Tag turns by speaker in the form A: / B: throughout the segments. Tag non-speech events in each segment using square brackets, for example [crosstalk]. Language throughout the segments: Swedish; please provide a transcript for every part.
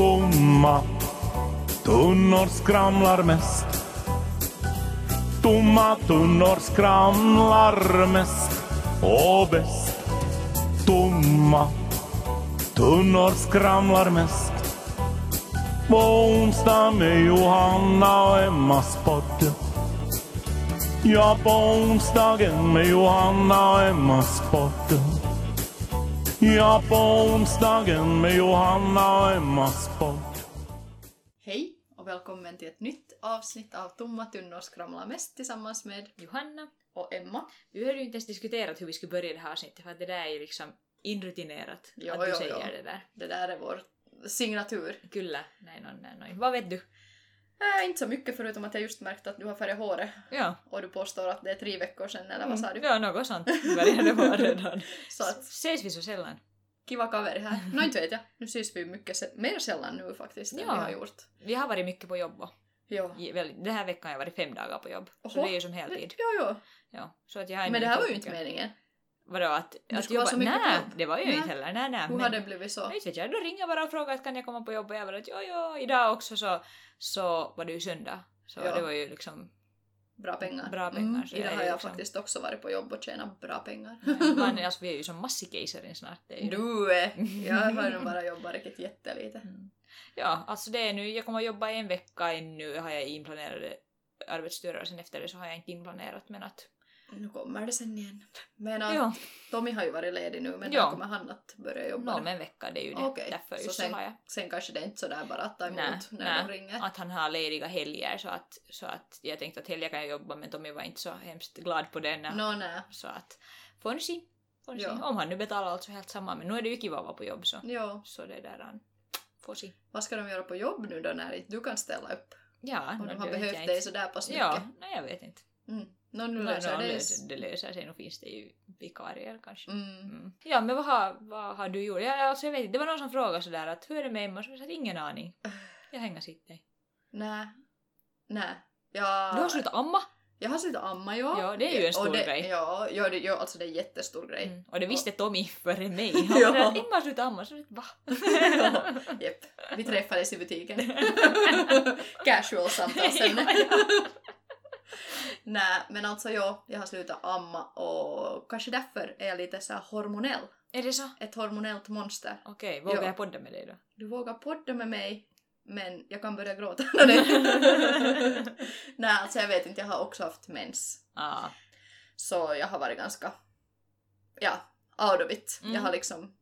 A: tomma tunnor skramlar mest. Tomma tunnor skramlar mest och bäst. Tomma tunnor skramlar mest. På onsdag med Johanna och Emmas podd. Ja, på onsdagen med Johanna och Emmas podd. Ja, på onsdagen med Johanna och Emmas podd.
B: Hej och välkommen till ett nytt avsnitt av Tomma tunnor skramlar mest tillsammans med
C: Johanna,
B: och Emma.
C: vi har ju inte ens diskuterat hur vi skulle börja det här avsnittet för att det där är ju liksom inrutinerat
B: Jo,
C: att du
B: jo,
C: säger
B: jo.
C: det där.
B: Det där är vår signatur.
C: Kyllä, näin on, näin on. Vad vet du?
B: Äh, inte så mycket förutom att jag just märkt att du har färgat håret
C: Ja.
B: och du påstår att det är tre veckor sedan
C: Mm,
B: eller vad sa du?
C: Ja, något sånt.
B: [laughs]
C: Vi började vara redan.
B: Så att
C: Ses vi så sällan?
B: kiva kaveri här. Nå inte vet jag. Nu syns vi mycket se- mer sällan nu faktiskt än
C: Ja.
B: vi har gjort.
C: Vi har varit mycket på jobb och
B: Jo.
C: i- väl, den här veckan har jag varit fem dagar på jobb. Så
B: Oho.
C: det är ju som heltid.
B: Jo, jo.
C: Ja, så att jag har
B: Men det här var ju inte
C: mycket-
B: meningen.
C: Vadå att, att
B: skulle vara så mycket på
C: Nej,
B: jobb.
C: det var ju
B: Nej.
C: inte heller. Nej, nej.
B: Hur har det blivit
C: Ja,
B: så?
C: inte vet jag. Då ringer jag bara och frågar att kan jag komma på jobbet och jag bara att jo, jo, idag också så, så var det ju söndag. Så
B: Ja.
C: det var ju liksom,
B: Bra pengar. Mm,
C: Bra pengar, så
B: Idag
C: jag är
B: har jag
C: liksom-
B: faktiskt också varit på jobb och tjänat bra pengar.
C: man, alltså, vi är ju som massikejsaren snart. Det är ju...
B: Du! eh, Jag har nog bara jobbat riktigt jättelite.
C: Mm. Ja, alltså det är nu, jag kommer att jobba en vecka ännu har jag inplanerade arbetsturer och sen efter det så har jag inte inplanerat men att...
B: Nu kommer det sen igen. Men att
C: Ja,
B: Tommy har ju varit ledig nu men
C: Ja.
B: när kommer han att börja jobba?
C: no,
B: nu?
C: men vecka det är ju det.
B: Okej,
C: Därför
B: så
C: just så,
B: sen-
C: har jag.
B: Sen kanske det är inte sådär bara att ta emot
C: Nä,
B: när
C: nä.
B: de ringer.
C: Att han har lediga helger så att, så att jag tänkte att helger kan jag jobba men Tommy var inte så hemskt glad på den.
B: Nå nä.
C: Så att får ni se. Får ni se.
B: Ja.
C: Om han nu betalar alltså helt samma men nu är det ju kiva att vara på jobb så,
B: Jo,
C: så det där han får se.
B: vad ska de göra på jobb nu då när inte du kan ställa upp?
C: Ja,
B: Om
C: nå,
B: de
C: det
B: har
C: vet jag
B: behövt
C: inte.
B: dig sådär pass mycket.
C: Ja, nej jag vet inte.
B: Mm. Nå nu
C: Nå,
B: löser
C: nå,
B: jag det.
C: löser- det löser sig, nu finns det ju vikarier kanske.
B: Mm.
C: Mm. Ja men vad har, vad har du gjort? Ja, alltså, jag vet inte, det var någon som frågade sådär att hur är det med Emma? Så jag sa att ingen aning. Jag hänger sitt dig.
B: Nä. Nä.
C: Du har
B: Jag,
C: slutat amma!
B: jag har slutat amma ja.
C: Ja, det är ju en
B: Och
C: stor
B: det,
C: grej.
B: Ja, ja, det, ja, alltså det är en jättestor grej.
C: Mm. Och det visste Tommy före mig. Han
B: [laughs] Ja.
C: ja. att Emma har slutat amma. Så jag sa, va? Mm. [laughs]
B: Ja, Jep. Vi träffades i butiken. [laughs] Casual samtalsämne.
C: Ja,
B: Nej, men alltså ja, jag har slutat amma och kanske därför är jag lite så här hormonell.
C: Är det så?
B: Ett hormonellt monster.
C: Okej, vågar
B: Ja.
C: jag podda med
B: [laughs]
C: dig då?
B: Du vågar podda med mig, men jag kan börja gråta.
C: [laughs]
B: Nej. [laughs] Nej, alltså jag vet inte, jag har också haft mens.
C: Ah.
B: Så jag har varit ganska, ja, out of it.
C: Mm.
B: Jag har liksom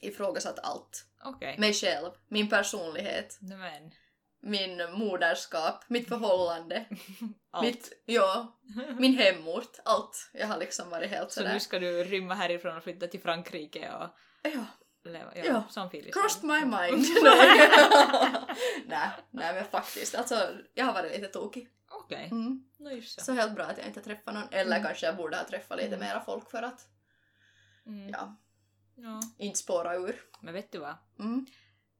B: ifrågasatt allt.
C: Okej.
B: Mig själv, min personlighet,
C: No, men.
B: min moderskap, mitt förhållande,
C: Allt.
B: mitt, ja, min hemort, allt. Jag har liksom varit helt
C: så nu
B: sådär.
C: ska du rymma härifrån och flytta till Frankrike och
B: Ja,
C: leva? Ja,
B: Ja.
C: som Filip.
B: crossed my
C: [laughs]
B: mind. Nej. [laughs] nej, nej men faktiskt, alltså jag har varit lite tokig.
C: Okej,
B: Mm.
C: no just så.
B: Så helt bra att jag inte träffar någon, eller
C: Mm.
B: kanske jag borde ha träffat lite
C: Mm.
B: mera folk för att
C: Mm.
B: ja,
C: Ja.
B: inte spåra ur.
C: Men vet du vad?
B: Mm.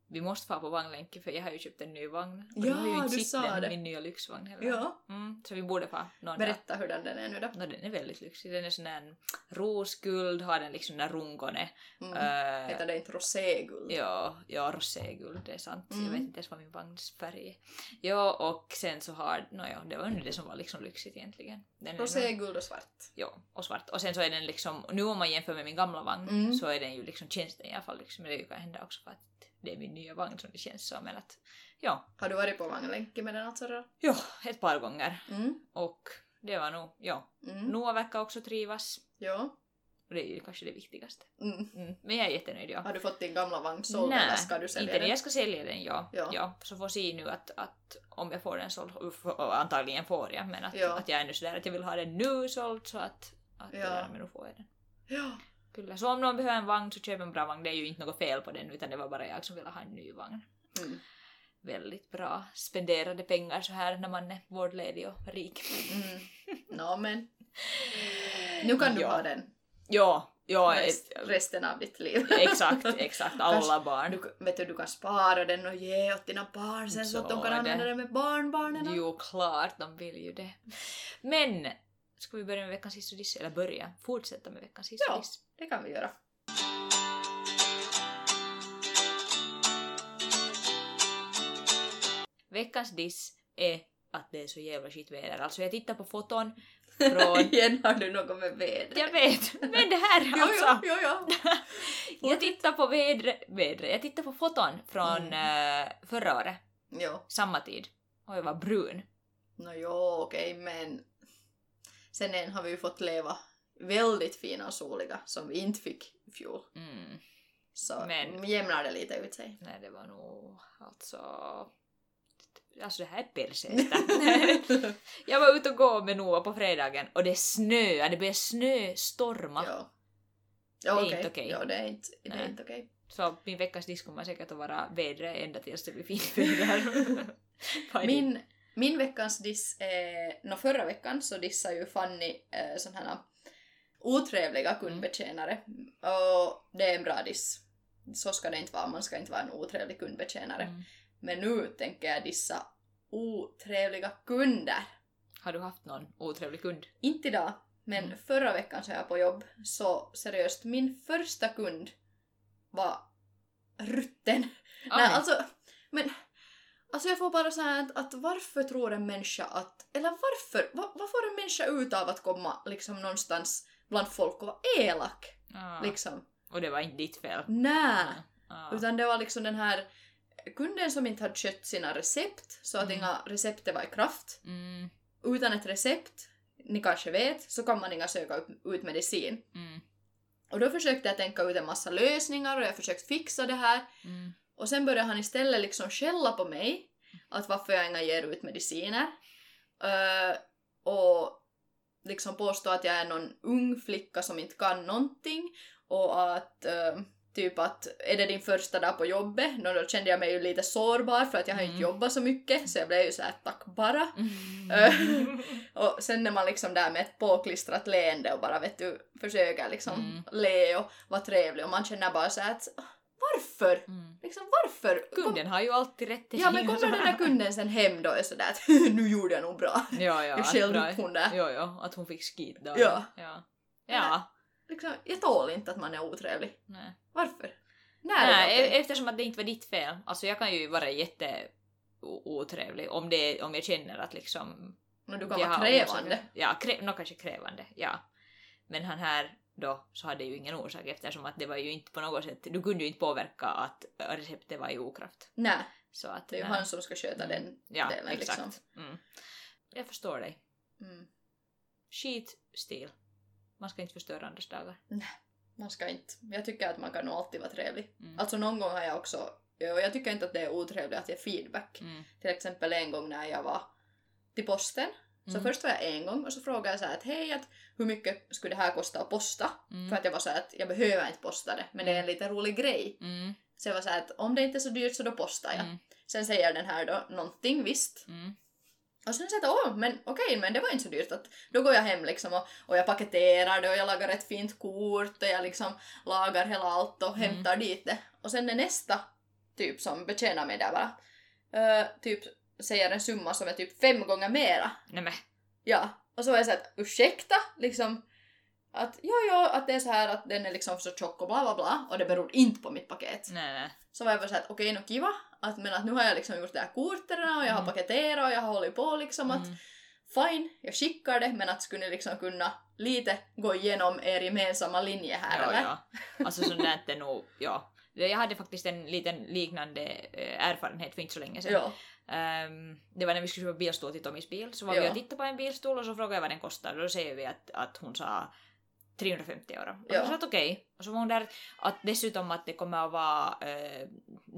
C: Vi måste fara på vagnlänken för jag har ju köpt en ny vagn. Och
B: Ja,
C: du har ju
B: du
C: inte
B: sa
C: sett den,
B: det.
C: min nya lyxvagn heller.
B: Ja,
C: Mm, så vi borde fara någon dag.
B: berätta hur den är nu då.
C: No, den är väldigt lyxig. Den är sån där rosguld, har den liksom den där rungone.
B: Mm.
C: Äh,
B: Heter det inte roséguld?
C: Ja, ja roséguld, det är sant.
B: Mm.
C: Jag vet inte ens vad min vagnsfärg är. Ja, och sen så har, nåja, det var nu det som var liksom lyxigt egentligen. Den är nog-
B: Roséguld och svart.
C: Ja, och svart. Och sen så är den liksom, nu om man jämför med min gamla vagn
B: Mm.
C: så är den ju liksom tjänsten i alla fall liksom, men det kan hända också för att det är min nya vagn som det känns som men att ja,
B: Har du varit på vagnlänken med den alltså då?
C: ja, ett par gånger
B: Mm.
C: och det var nog, ja,
B: Mm.
C: Noah verkar också trivas
B: Ja.
C: och det är ju kanske det viktigaste.
B: Mm.
C: Mm. Men jag är jättenöjd ja.
B: Har du fått din gamla vagn såld
C: Nä,
B: eller ska du sälja
C: inte
B: den?
C: nu. Jag ska sälja den, ja.
B: Ja.
C: ja. Så får se nu att, att om jag får den såld, och f- och antagligen får jag, men att,
B: Ja.
C: att jag är ännu sådär att jag vill ha den nu såld så att, att det
B: Ja.
C: där, men nu får jag den.
B: Ja.
C: Kyllä, så om någon behöver en vagn så köp en bra vagn. Det är ju inte något fel på den utan det var bara jag som ville ha en ny vagn.
B: Mm.
C: Väldigt bra spenderade pengar så här när man är vårdledig och rik.
B: Mm. Nå men, nu kan du
C: ja.
B: ha den
C: Ja, ja
B: rest,
C: ett,
B: resten av ditt liv.
C: exakt, exakt. Alla barn.
B: Du, vet du, du kan spara den och ge åt dina barn sen så, att de
C: Så
B: kan
C: är
B: använda
C: det.
B: den med barnbarnen. och-
C: Jo, klart de vill ju det. Men, ska vi börja med veckans hiss och diss? Eller börja, fortsätta med veckans hiss
B: Ja.
C: och diss.
B: Det kan vi göra.
C: veckans diss är att det är så jävla skitväder. Alltså jag tittar på foton
B: [laughs]
C: från...
B: Igen har du något med vädret.
C: jag vet! Men det här
B: Jo,
C: alltså!
B: jo, jo, jo.
C: Jag tittar på vädre, vädre. Jag tittar på foton från
B: Mm.
C: eh, förra året,
B: jo.
C: samma tid. Och jag var brun.
B: No joo, okej, men sen en har vi ju fått leva väldigt fina och soliga som vi inte fick i fjol.
C: Mm.
B: Så
C: Men-
B: jämnar det lite ut sig.
C: Nej, det var nog alltså... Alltså det här är perseestä.
B: [laughs]
C: jag var ute och gå med Noah på fredagen och det snöade, det började snöstorma.
B: Joo. Joo,
C: Ei
B: okej.
C: nyt okei.
B: Joo, det är inte, det är
C: Nej.
B: inte okej.
C: Så min veckans disk kommer säkert att vara vädret ända tills det blir
B: [laughs]
C: fint väder. [laughs] Vad är din?
B: Min, min veckans diss är... No, förra veckan så dissade ju Fanny äh, sån här
C: Mm.
B: otrevliga kundbetjänare. Och det är en bra diss. Så ska det inte vara, man ska inte vara en otrevlig kundbetjänare.
C: Mm.
B: Men nu tänker jag dissa otrevliga kunder.
C: Har du haft någon otrevlig kund?
B: Inte idag, men
C: Mm.
B: förra veckan så jag på jobb så seriöst, min första kund var rutten. Nej,
C: Aj.
B: alltså, men alltså jag får bara säga att, att varför tror en människa att, eller varför, va, vad får en människa ut av att komma liksom någonstans bland folk och vara elak?
C: Ah.
B: Liksom.
C: Och det var inte ditt fel.
B: Nä!
C: Ah.
B: Utan det var liksom den här kunden som inte hade skött sina recept, så att
C: Mm.
B: inga recept var i kraft.
C: Mm.
B: Utan ett recept, ni kanske vet, så kan man inga söka upp- ut medicin.
C: Mm.
B: Och då försökte jag tänka ut en massa lösningar och jag försökte fixa det här.
C: Mm.
B: Och sen började han istället liksom skälla på mig, att varför jag inga ger ut mediciner. Eh, och liksom påstå att jag är någon ung flicka som inte kan någonting. Och att eh, typ att är det din första dag på jobbet? Nå, då kände jag mig ju lite sårbar för att jag har inte
C: Mm.
B: jobbat så mycket så jag blev ju såhär tack bara.
C: Mm.
B: Och sen när man liksom där med ett påklistrat leende och bara vet du försöker liksom
C: Mm.
B: le och vara trevlig och man känner bara så här att "Ah, varför?
C: Mm.
B: Liksom varför?
C: Kunden har ju alltid rätt till
B: Ja men kommer den där kunden sen hem då och sådär att nu gjorde jag nog bra.
C: [laughs] Ja, ja,
B: Jag
C: att
B: skällde
C: bra-
B: upp hon där.
C: Jo, jo, att hon fick skit då.
B: Ja.
C: Ja. ja.
B: Liksom, jag tål inte att man är otrevlig.
C: Nej.
B: Varför? När
C: Nej,
B: är det
C: e-
B: okej?
C: eftersom att det inte var ditt fel. Alltså jag kan ju vara jätte o- otrevlig om, det, om jag känner att liksom...
B: Men du kan
C: jag
B: vara
C: har
B: krävande.
C: orsaker. Ja, krä, nå kanske krävande, ja. Men han här då så hade ju ingen orsak eftersom att det var ju inte på något sätt, du kunde ju inte påverka att receptet var i okraft.
B: Nej,
C: Så att...
B: det är ju
C: nej. Mm.
B: han som ska sköta den.
C: ja,
B: delen,
C: exakt.
B: liksom.
C: Mm. Jag förstår dig.
B: Mm.
C: Skitstil. Man ska inte förstöra andras dagar.
B: Man ska inte. Jag tycker att man kan nog alltid vara trevlig.
C: Mm.
B: Alltså någon gång har jag också, och jag tycker inte att det är otrevligt att ge feedback.
C: Mm.
B: Till exempel en gång när jag var till posten. Så
C: Mm.
B: först var jag en gång och så frågade jag så här att hej, att hur mycket skulle det här kosta att posta?
C: Mm.
B: För att jag var så här att jag behöver inte posta det, men det är en lite rolig grej.
C: Mm.
B: Så jag var så här att om det inte är så dyrt så då postar jag.
C: Mm.
B: Sen säger den här då någonting visst.
C: Mm.
B: Och sen säger jag att åh, men okej, men det var inte så dyrt. Att då går jag hem liksom och, och jag paketerar det och jag lagar ett fint kort och jag liksom lagar hela allt och
C: Mm.
B: hämtar dit det. Och sen är nästa typ som betjänar mig där bara, eh, typ säger en summa som är typ fem gånger mera.
C: Nämen.
B: Ja, och så var jag såhär att ursäkta, liksom att jo, jo, att det är så här att den är liksom så tjock och bla bla bla och det beror inte på mitt paket.
C: Nej, nej.
B: Så var jag bara såhär att okej, nå kiva, att, men att nu har jag liksom gjort det här korterna och jag har
C: Mm.
B: paketerat och jag har hållit på liksom att
C: Mm.
B: fine, jag skickar det men att skulle ni liksom kunna lite gå igenom er gemensamma linje här
C: Ja,
B: eller?
C: ja. Alltså sånt där inte nog, ja. Jag hade faktiskt en liten liknande eh, erfarenhet för inte så länge sedan.
B: Ja.
C: Ehm, det var när vi skulle köpa bilstol till Tommys bil, så var vi
B: Ja.
C: och tittade på en bilstol och så frågade jag vad den kostade och då säger vi att, att hon sa 350 euro. Och
B: Ja.
C: så sa att okej. Och så var hon där att dessutom att det kommer att vara, eh,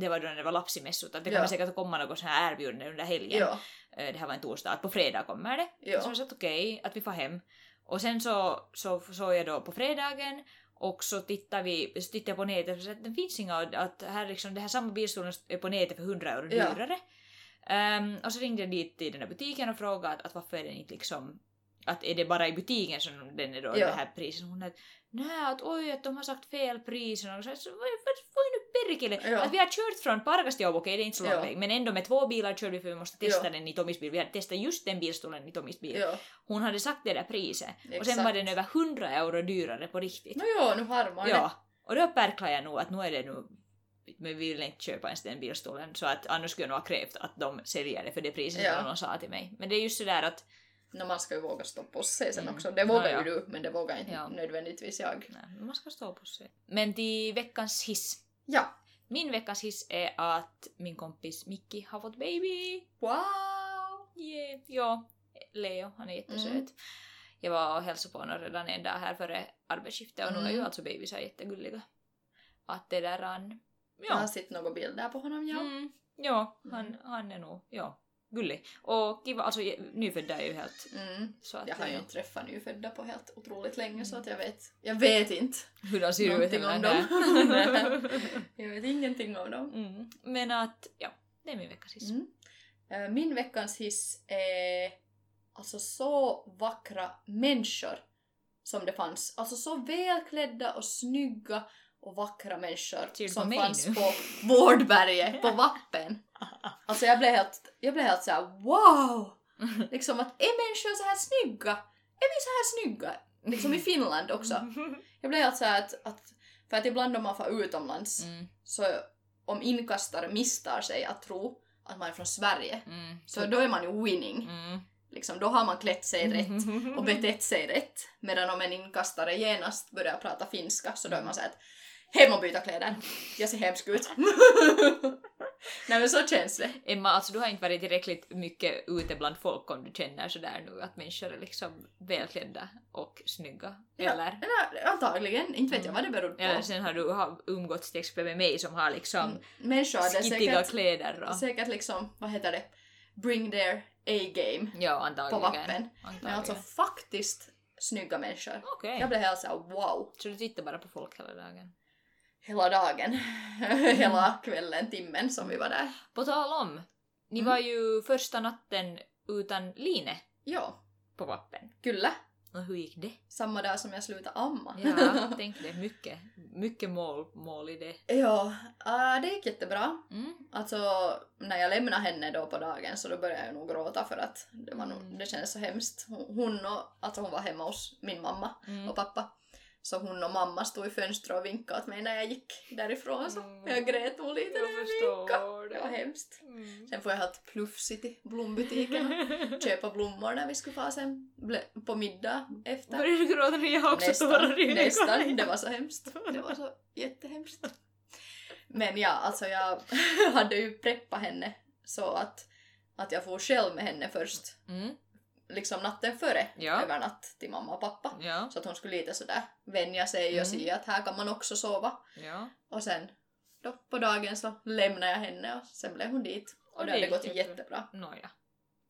C: det var då när det var lapsimessut, att det
B: Ja.
C: kommer säkert att komma något sånt här erbjudande under helgen.
B: Ja.
C: Eh, det här var en torsdag, att på fredag kommer det.
B: Ja.
C: Så jag sa att okej, att vi får hem. Och sen så så såg jag då på fredagen och så tittade, vi, så tittade jag på nätet och så att den finns inga, att här liksom, den här samma bilstolen är på nätet för 100 euro
B: Ja.
C: dyrare. Ehm, och så ringde jag dit till den här butiken och frågade att, att varför är den inte liksom att är det bara i butiken som den är då
B: Ja.
C: det här priset? Hon att nej att oj att de har sagt fel pris och så, så vad vad är nu perkele?
B: Ja.
C: Att vi har kört från Parkastjobb, okej det är inte så lång
B: Ja.
C: väg, men ändå med två bilar körde vi för vi måste testa
B: Ja.
C: den i Tommys bil. Vi hade testat just den bilstolen i Tommys bil.
B: ja.
C: Hon hade sagt det där priset och sen
B: Exakt.
C: var den över 100 euro dyrare på riktigt.
B: No joo, nu harmaa
C: ja. Och då pärklade jag nog att nu är det nu men vi ville inte köpa ens den bilstolen så att annars skulle jag nog ha krävt att de säljer det för det priset
B: Ja.
C: som någon sa till mig. Men det är just sådär att
B: No, man ska ju våga stå på sig sen
C: Mm.
B: också. Det vågar
C: Ja, ja.
B: ju du, men det vågar inte
C: Ja.
B: nödvändigtvis jag.
C: nej, man ska stå på sig. Men till veckans hiss.
B: Ja.
C: Min veckans hiss är att min kompis Mikki har fått baby!
B: Wow!
C: Yeah. Ja, Leo, han är jättesöt.
B: Mm.
C: Jag var och hälsade på honom redan en dag niin här före arbetsskiftet och nu är ju
B: Mm.
C: alltså bebisar jättegulliga. Att det niinku där han...
B: Jag har
C: Ja.
B: sett några bilder på honom, ja.
C: Mm, ja, han,
B: Mm.
C: han är nog ja, gullig. Och kiva, alltså je- nyfödda är ju helt...
B: Mm.
C: Så att,
B: Jag har ju
C: ja.
B: inte träffat nyfödda på helt otroligt länge så att jag vet. Jag vet inte.
C: Hur de ser ut
B: någonting
C: eller
B: om
C: där.
B: [laughs]
C: [laughs]
B: Jag vet ingenting om dem.
C: mm. Men att, ja, det är min veckas hiss.
B: Mm. Eh, Min veckans hiss är alltså så vackra människor som det fanns. Alltså så välklädda och snygga och vackra människor
C: Tyr på
B: som
C: mig
B: fanns
C: nu.
B: på Vårdberget,
C: [laughs]
B: på Vappen. Alltså jag blev helt, jag blev helt såhär wow! Liksom att är människor så här snygga? Är vi så här snygga? Liksom
C: [laughs]
B: i Finland också.
C: Mm.
B: Jag blev helt såhär att, att, för att ibland om man far utomlands
C: Mm,
B: så om inkastare misstar sig att tro att man är från Sverige,
C: mm,
B: så då är man ju winning.
C: mm. Mhm.
B: Liksom, då har man klätt sig rätt
C: [laughs]
B: och betett sig rätt. Medan om en inkastare genast börjar prata finska så då är man såhär att hem och byta kläder, jag ser hemsk
C: [laughs]
B: ut. Nej men så känns det.
C: Emma, alltså du har inte varit tillräckligt mycket ute bland folk om du känner sådär nu att människor är liksom välklädda och snygga.
B: Ja,
C: Eller?
B: Eller antagligen, inte vet jag vad det beror på.
C: Eller sen har du har umgåtts till exempel med mig som har liksom
B: Mm, Människor hade
C: skittiga
B: säkert,
C: kläder och...
B: säkert liksom, vad heter det, bring their A-game
C: Ja,
B: på
C: antagligen.
B: vappen. Men
C: antagligen.
B: alltså faktiskt snygga människor.
C: Okej.
B: Jag blev helt såhär wow,
C: Så du tittar bara på folk hela dagen.
B: hela dagen, [laughs]
C: Mm.
B: hela kvällen, timmen som vi var där.
C: På tal om, ni
B: Mm.
C: var ju första natten utan Line
B: Ja,
C: på vappen.
B: kyllä.
C: Och hur gick det?
B: Samma dag som jag slutade amma.
C: Ja, tänk det. Mycket, mycket mål, mål i
B: [laughs]
C: det.
B: ja äh, det gick jättebra.
C: Mm.
B: Alltså när jag lämnade henne då på dagen så då började jag nog gråta för att det, var
C: Mm.
B: nog, det kändes så hemskt. Hon, hon och, alltså hon var hemma hos min mamma
C: Mm.
B: och pappa. Så hon och mamma stod i fönstret och vinkade åt mig när jag gick därifrån så
C: Mm.
B: jag grät nog lite när jag vinkade. Det var hemskt. [laughs]
C: Mm.
B: Sen får jag helt plufsigt i blombutiken köpa blommor när vi skulle få sen ble- på middag efter.
C: Börjar du gråta nu? Jag har också tårar i
B: nästan. Det var så hemskt. Det var
C: [laughs]
B: så jättehemskt. Men ja, alltså jag [laughs] hade ju preppat henne så att, att jag får själv med henne först,
C: Mm,
B: liksom natten före,
C: Ja.
B: över natt till mamma och pappa.
C: ja,
B: Så att hon skulle lite sådär vänja sig och
C: Mm.
B: se att här kan man också sova.
C: ja.
B: Och sen då på dagen så lämnade jag henne och sen blev hon dit. Och,
C: Och
B: det
C: det
B: hade
C: gick
B: gått
C: jättebra.
B: jättebra.
C: Nåja.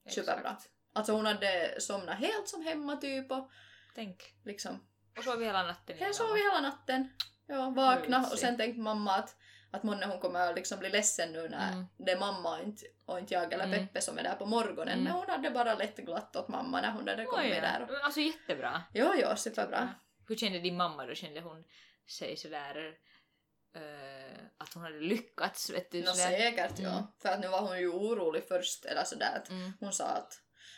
C: Exakt.
B: Superbra. Alltså hon hade somnat helt som hemma typ och
C: Tänk.
B: liksom.
C: Och sov vi hela natten
B: Sen sov vi hela natten. Ja, vakna
C: Mysigt.
B: och sen tänkte mamma att, att månne hon kommer att liksom bli ledsen nu när
C: Mm.
B: det är mamma och inte, och inte jag eller
C: Mm.
B: Peppe som är där på morgonen.
C: Mm.
B: Men hon hade bara lätt glatt åt mamma när hon hade kommit där. Och...
C: Alltså jättebra.
B: Jo, jo, superbra.
C: Hur kände din mamma då? Kände hon sig sådär eh, att hon hade lyckats? Vet du,
B: Nå
C: sådär?
B: säkert,
C: Mm.
B: ja. För att nu var hon ju orolig först eller sådär att
C: Mm,
B: hon sa att,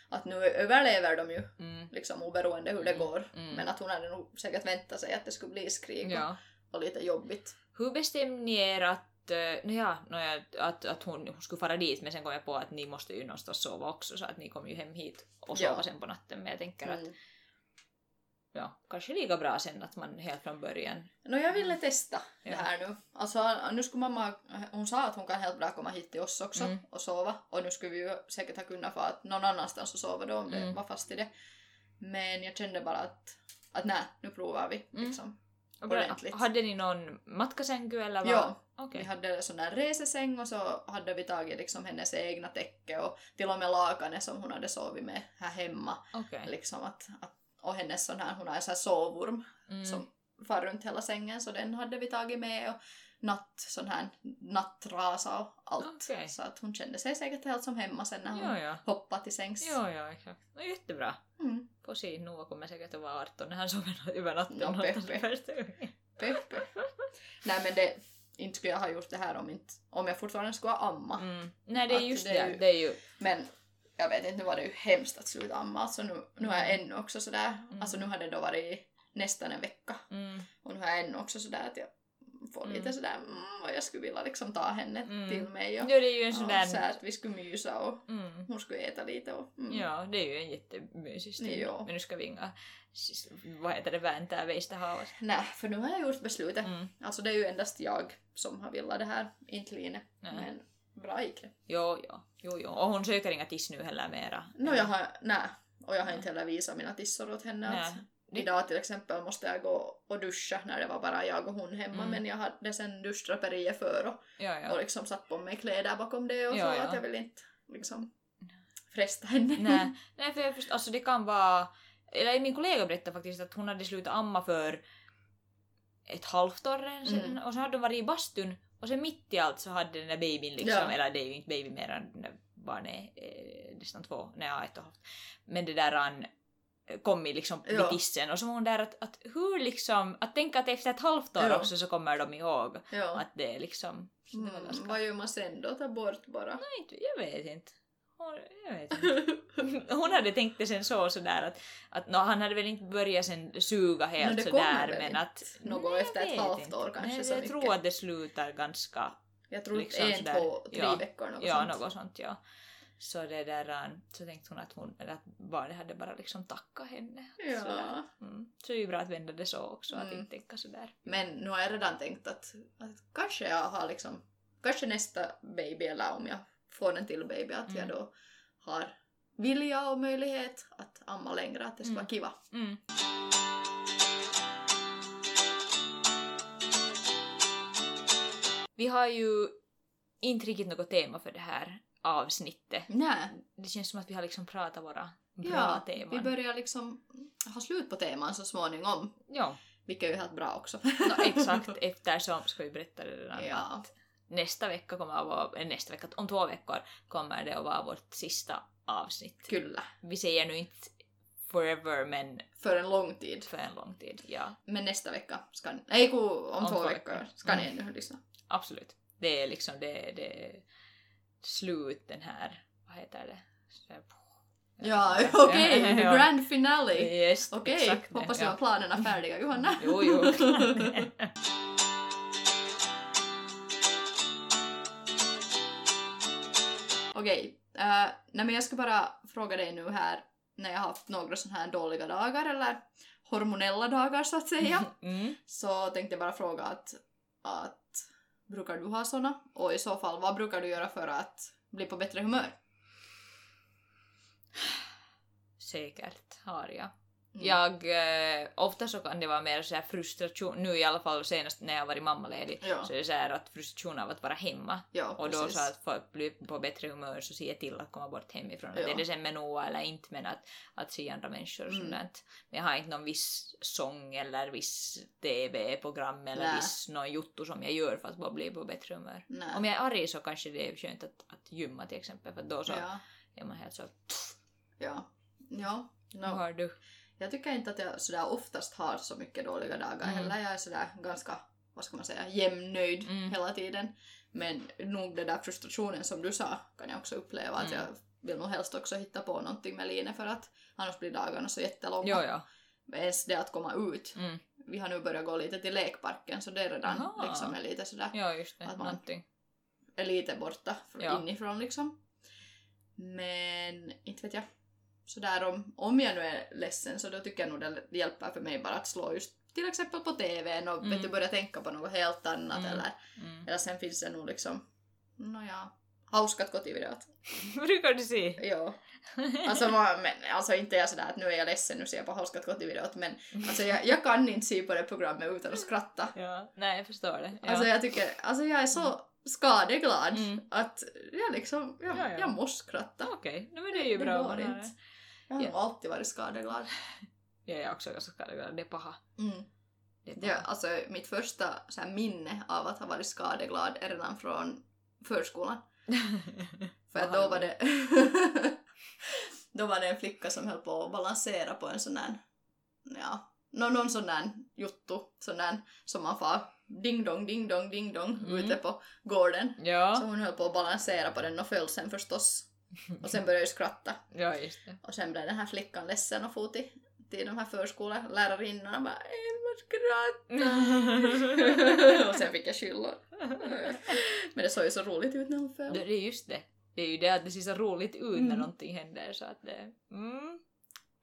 B: att nu överlever de ju
C: mm,
B: liksom oberoende hur det
C: Mm.
B: går.
C: Mm.
B: Men att hon hade nog säkert väntat sig att det skulle bli skrik och-
C: ja.
B: och lite jobbigt.
C: Hur bestämde ni er att, eh, nå ja, nå ja, att, att hon, hon skulle fara dit men sen kom jag på niin att ni måste ju någonstans sova också så att ni kom ju hem hit och sova
B: Ja.
C: sen på natten men jag tänker att
B: Mm.
C: ja, kanske lika bra sen att man helt från början.
B: No jag ville
C: Mm.
B: testa
C: Ja.
B: det här nu. Alltså nu skulle mamma, hon sa att hon kan helt bra komma hit till oss också
C: Mm.
B: och sova. Och nu skulle vi ju säkert ha kunnat få att någon annanstans och sova då om det
C: Mm.
B: var fast i det. Men jag kände bara att, att nej, nu provar vi
C: Mm.
B: liksom.
C: Och bra-
B: Ordentligt.
C: Hade ni någon matkasänky eller vad?
B: Ja,
C: Okej.
B: vi hade en sån där resesäng och så hade vi tagit liksom hennes egna täcke och till och med lakanet som hon hade sovit med här hemma.
C: Okej.
B: Liksom att, att, och hennes sån här, hon har en sån här sovorm
C: Mm.
B: som far runt hela sängen så den hade vi tagit med och natt, sån här nattrasa och allt.
C: Okej.
B: Så att hon kände sig säkert helt som hemma sen när hon
C: Ja, ja.
B: hoppade till sängs.
C: Ja, ja, exakt. No, jättebra.
B: Mm.
C: Posi, Noa kommer säkert att vara 18 när han sover över natten.
B: Ja,
C: någonstans
B: Peppe.
C: första gången.
B: Peppe.
C: [laughs]
B: Nej men det, inte skulle jag ha gjort det här om, inte, om jag fortfarande skulle ha amma.
C: Mm. Nej, det är
B: Att
C: just
B: det är
C: det.
B: Ah. ju-
C: Det är ju...
B: Men jag vet inte, nu var det ju hemskt att sluta amma. Alltså nu, nu har jag
C: Mm.
B: ännu också sådär,
C: Mm.
B: alltså nu har det då varit nästan en vecka
C: Mm.
B: och nu har jag ännu också sådär att jag får
C: Mm.
B: lite sådär, mm, vad jag skulle vilja liksom ta henne
C: Mm.
B: till mig
C: Ja,
B: och,
C: det är ju en sån
B: ja, så
C: där...
B: här att vi skulle mysa och
C: Mm.
B: hon skulle äta lite och mm.
C: Ja, det är ju en jättemysig stund.
B: Ja.
C: Men nu ska vi inga, siis, vad heter det, väntää veistä haavasta.
B: Nej, för nu har jag gjort beslutet.
C: Mm.
B: Alltså det är ju endast jag som har velat det här, inte Line.
C: Nej.
B: Men bra gick det.
C: Jo, jo, jo, jo. Och hon söker inga tiss nu heller mera.
B: No, jag har, nej. Och jag har inte heller visat mina tissor åt henne.
C: Nej.
B: Att idag till exempel måste jag gå och duscha när det var bara jag och hon hemma
C: Mm.
B: men jag hade sen duschdraperiet för och,
C: Jo,
B: och
C: jo.
B: liksom satt på mig kläder bakom det och
C: Ja,
B: så
C: ja.
B: att jag vill inte liksom fresta henne.
C: Nej, nej för jag förstår, alltså det kan vara... Eller min kollega berättade faktiskt att hon hade slutat amma för ett halvt år sedan
B: Mm.
C: och så hade hon varit i bastun och sen mitt i allt så hade den där babyn liksom,
B: Ja.
C: eller det är ju inte baby mer än den där barnet är eh, nästan två, nej ja, ett och ett halvt. Men det där han eh, kom i liksom vid
B: Ja.
C: tissen och så var hon där att, att hur liksom, att tänka att efter ett halvt år
B: Ja.
C: också så kommer de ihåg
B: [laughs] ja.
C: att det är liksom, så det var ganska...
B: Mm, vad gör man sen då? Ta bort bara.
C: Nej, inte- jag vet inte. Hon, jag vet
B: [laughs]
C: inte. Hon hade tänkt det sen så sådär att, att no, han hade väl inte börjat sen suga helt
B: No, det kommer
C: sådär
B: väl
C: men
B: inte
C: att...
B: något
C: Nej, jag
B: efter ett
C: vet
B: halvt
C: inte.
B: år kanske
C: Nej,
B: så
C: Jag
B: mycket.
C: tror att det slutar ganska...
B: Jag tror
C: Liksom
B: en,
C: sådär.
B: två, tre
C: Ja.
B: veckor något
C: ja,
B: sånt.
C: något sånt ja. Så det där, ähm, så tänkte hon att, hon, eller att barnet hade bara liksom tackat henne.
B: Ja.
C: Sådär. Mm. Så det är ju bra att vända det så också, att
B: Mm.
C: inte tänka sådär.
B: Men nu har jag redan tänkt att, att kanske jag har liksom, kanske nästa baby eller om jag får en till baby att jag
C: Mm.
B: då har vilja och möjlighet att amma längre, att det ska
C: Mm.
B: vara kiva.
C: Mm. Vi har ju inte riktigt något tema för det här avsnittet.
B: Nej,
C: Det känns som att vi har liksom pratat våra bra
B: ja,
C: teman.
B: vi börjar liksom ha slut på teman så småningom,
C: Ja,
B: vilket är ju helt bra
C: [laughs]
B: också.
C: no, exakt eftersom ska vi berätta det redan.
B: ja,
C: Nästa vecka kommer att vara, eller nästa vecka, om två veckor kommer det att vara vårt sista avsnitt.
B: kyllä.
C: Vi säger nu inte forever men
B: För en lång tid.
C: för en lång tid. Ja,
B: Men nästa vecka ska ni, nej ku, om,
C: Om
B: två
C: två
B: veckor
C: veckor.
B: ska ni
C: Mm.
B: ännu lyssna.
C: absolut. Det är liksom det, det är slut den här, vad heter det? Så här-
B: Ja, okej, the
C: [laughs] ja.
B: grand finale.
C: Yes,
B: Okej,
C: exakt det,
B: hoppas
C: ja.
B: jag har planerna färdiga Johanna.
C: Jo, jo, klart det.
B: [laughs] Okej, eh, nej men jag ska bara fråga dig nu här när jag har haft några sådana här dåliga dagar eller hormonella dagar så att säga.
C: [laughs] Mm.
B: Så tänkte jag bara fråga att, att brukar du ha såna? Och i så fall vad brukar du göra för att bli på bättre humör?
C: Säkert har jag.
B: Mm.
C: Jag, eh, ofta så kan det vara mer så här frustration, nu i alla fall senast när jag varit mammaledig,
B: Ja.
C: så är det så här att frustration av att vara hemma.
B: Ja,
C: Och då
B: precis.
C: så att för att bli på bättre humör så ser jag till att komma bort hemifrån. Att
B: Ja.
C: Är det sen med Noah eller inte men att, att se andra människor och
B: Mm.
C: sånt. där. Men jag har inte någon viss sång eller viss TV-program eller
B: Nä.
C: viss någon juttu som jag gör för att bara bli på bättre humör.
B: Nej.
C: Om jag är arg så kanske det är skönt att, att gymma till exempel för då så
B: Ja,
C: är man helt så
B: ja. Ja. No.
C: vad har du?
B: Jag tycker inte att jag sådär oftast har så mycket dåliga dagar
C: Mm.
B: heller. Jag är sådär ganska, vad ska man säga, jämnöjd
C: Mm.
B: hela tiden. Men nog den där frustrationen som du sa kan jag också uppleva att
C: Mm.
B: jag vill nog helst också hitta på någonting med Line för att annars blir dagarna så jättelånga.
C: Jo, jo.
B: Men Ens det att komma ut.
C: Mm.
B: Vi har nu börjat gå lite till lekparken så det är redan
C: Aha.
B: liksom är lite sådär,
C: Ja, just det.
B: Att man-
C: Någonting.
B: är lite borta från,
C: Ja.
B: inifrån liksom. Men inte vet jag. Sådär om, om jag nu är ledsen så då tycker jag nog det hjälper för mig bara att slå just till exempel på TVn och
C: Mm.
B: vet du, börja tänka på något helt annat
C: Mm.
B: eller,
C: Mm. [laughs]
B: eller sen finns det nog liksom, nåja, hauskat kotivideot.
C: Brukar du se?
B: Joo.
C: [laughs]
B: Alltså, vad- men, alltså inte är jag sådär att nu är jag ledsen, nu ser jag på hauskat kotivideot men alltså jag, jag kan inte se på det programmet utan att skratta.
C: Ja, nej jag förstår det. Ja.
B: Alltså jag tycker, alltså jag är så skadeglad
C: Mm.
B: att jag liksom, jag,
C: Ja, ja.
B: jag måste skratta.
C: Okej, nej, men det är no ju
B: Det
C: bra.
B: går
C: att man har
B: inte.
C: det.
B: Jag har
C: Ja.
B: nog alltid varit skadeglad.
C: Jag är också ganska skadad, det är paha.
B: Mm.
C: Det är paha. [laughs]
B: Det, alltså mitt första så här, minne av att ha varit skadeglad är redan från förskolan. För att
C: Vad
B: då
C: har
B: var
C: du?
B: det... [laughs] då var det en flicka som höll på att balansera på en sån där... Ja, nå- någon sån där juttu, sån där som man far ding dong, ding dong, ding dong
C: Mm.
B: ute på gården. Så
C: ja.
B: hon höll på att balansera på den och föll sen förstås. Och sen började jag skratta.
C: ja, just det.
B: Och sen blev den här flickan ledsen och for till, till de här förskolelärarinnorna bara “en vad skrattar” [laughs] och sen fick jag skyllor.
C: [laughs]
B: Men det såg ju så roligt ut när hon föll.
C: Det det är just det. Det är ju det att det ser så roligt ut när
B: Mm.
C: någonting händer så att det... Mm.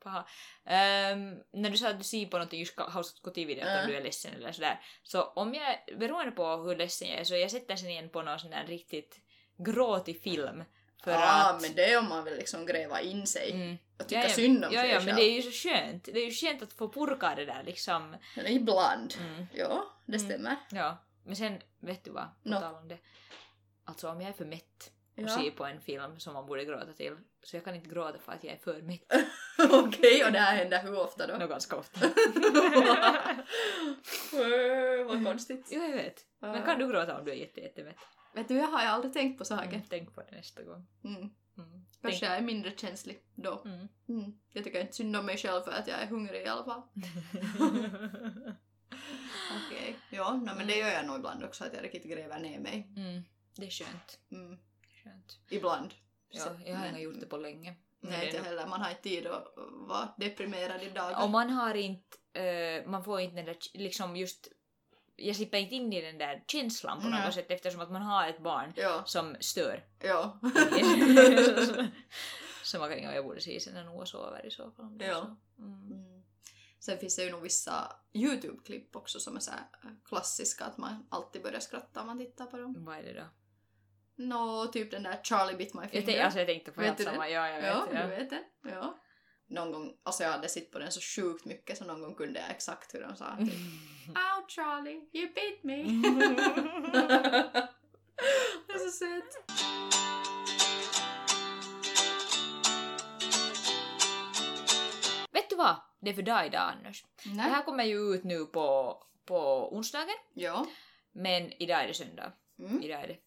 C: Paha. Ehm, när du sa att du ser på någonting just House of videot
B: Ja.
C: om du är ledsen eller sådär. Så om jag, beroende på hur ledsen jag är, så jag sätter sen igen på någon sån där riktigt gråtig film. För
B: Ja,
C: att...
B: men det är om man vill liksom gräva in sig
C: Mm.
B: och tycka synd om
C: ja,
B: sig
C: ja,
B: själv.
C: men det är ju så skönt. Det är ju skönt att få purka det där liksom.
B: Men Ibland.
C: Mm.
B: Ja, det
C: Mm.
B: stämmer.
C: Ja, men sen vet du vad, på
B: Nå.
C: tal om det. Alltså om jag är för mätt och
B: Ja.
C: ser på en film som man borde gråta till, så jag kan inte gråta för att jag är för mätt.
B: [laughs] Okej, och det här händer hur ofta då?
C: Nå ganska ofta. [laughs]
B: Öh, [laughs] Vad konstigt.
C: jo, jag vet. Men
B: Ja.
C: kan du gråta om du är jätte, jättemätt?
B: Vet du, jag har ju aldrig tänkt på
C: Mm,
B: saken.
C: tänk på det nästa gång.
B: Mm.
C: Mm.
B: Kanske
C: Tänk-
B: jag är mindre känslig då.
C: Mm.
B: Mm. Jag tycker inte synd om mig själv för att jag är hungrig i alla fall. Okej. Ja, no, men det gör jag nog ibland också, att jag riktigt gräver ner mig.
C: [laughs] mm. Det är skönt.
B: Mm.
C: skönt.
B: Ibland.
C: Ja,
B: Så-
C: jag har
B: men-
C: inte gjort det på länge. Men det
B: Nej,
C: är
B: inte
C: nog-
B: heller. Man har inte tid att vara deprimerad i dagar.
C: Om man har inte, eh, man får inte den där, liksom just, jag slipper inte in i den där känslan på något
B: Nej.
C: sätt eftersom att man har ett barn
B: Ja,
C: som stör. [laughs]
B: ja.
C: Samma gång jag borde se sen när Noah sover i så fall. om det är
B: Ja.
C: så. Mm.
B: Mm. Sen finns det ju nog vissa YouTube-klipp också som är så här äh, klassiska, att man alltid börjar skratta om man tittar på dem.
C: Vad är det då?
B: Nå, typ den där Charlie bit my
C: Jag,
B: finger.
C: tänk, alltså jag tänkte på
B: Vet
C: helt
B: du det?
C: samma. Ja, jag vet.
B: ja,
C: ja.
B: du vet det. Ja. Någon gång, alltså jag hade sett på den så sjukt mycket så någon gång kunde jag exakt hur de sa.
C: Mm.
B: Typ, Ow Charlie, you beat me! [laughs] det är så söt.
C: vet du vad? Det är för dag idag annars. Det
B: Nej.
C: här kommer ju ut nu på, på onsdagen,
B: Ja.
C: men idag är det söndag.
B: Mm.
C: Idag är det...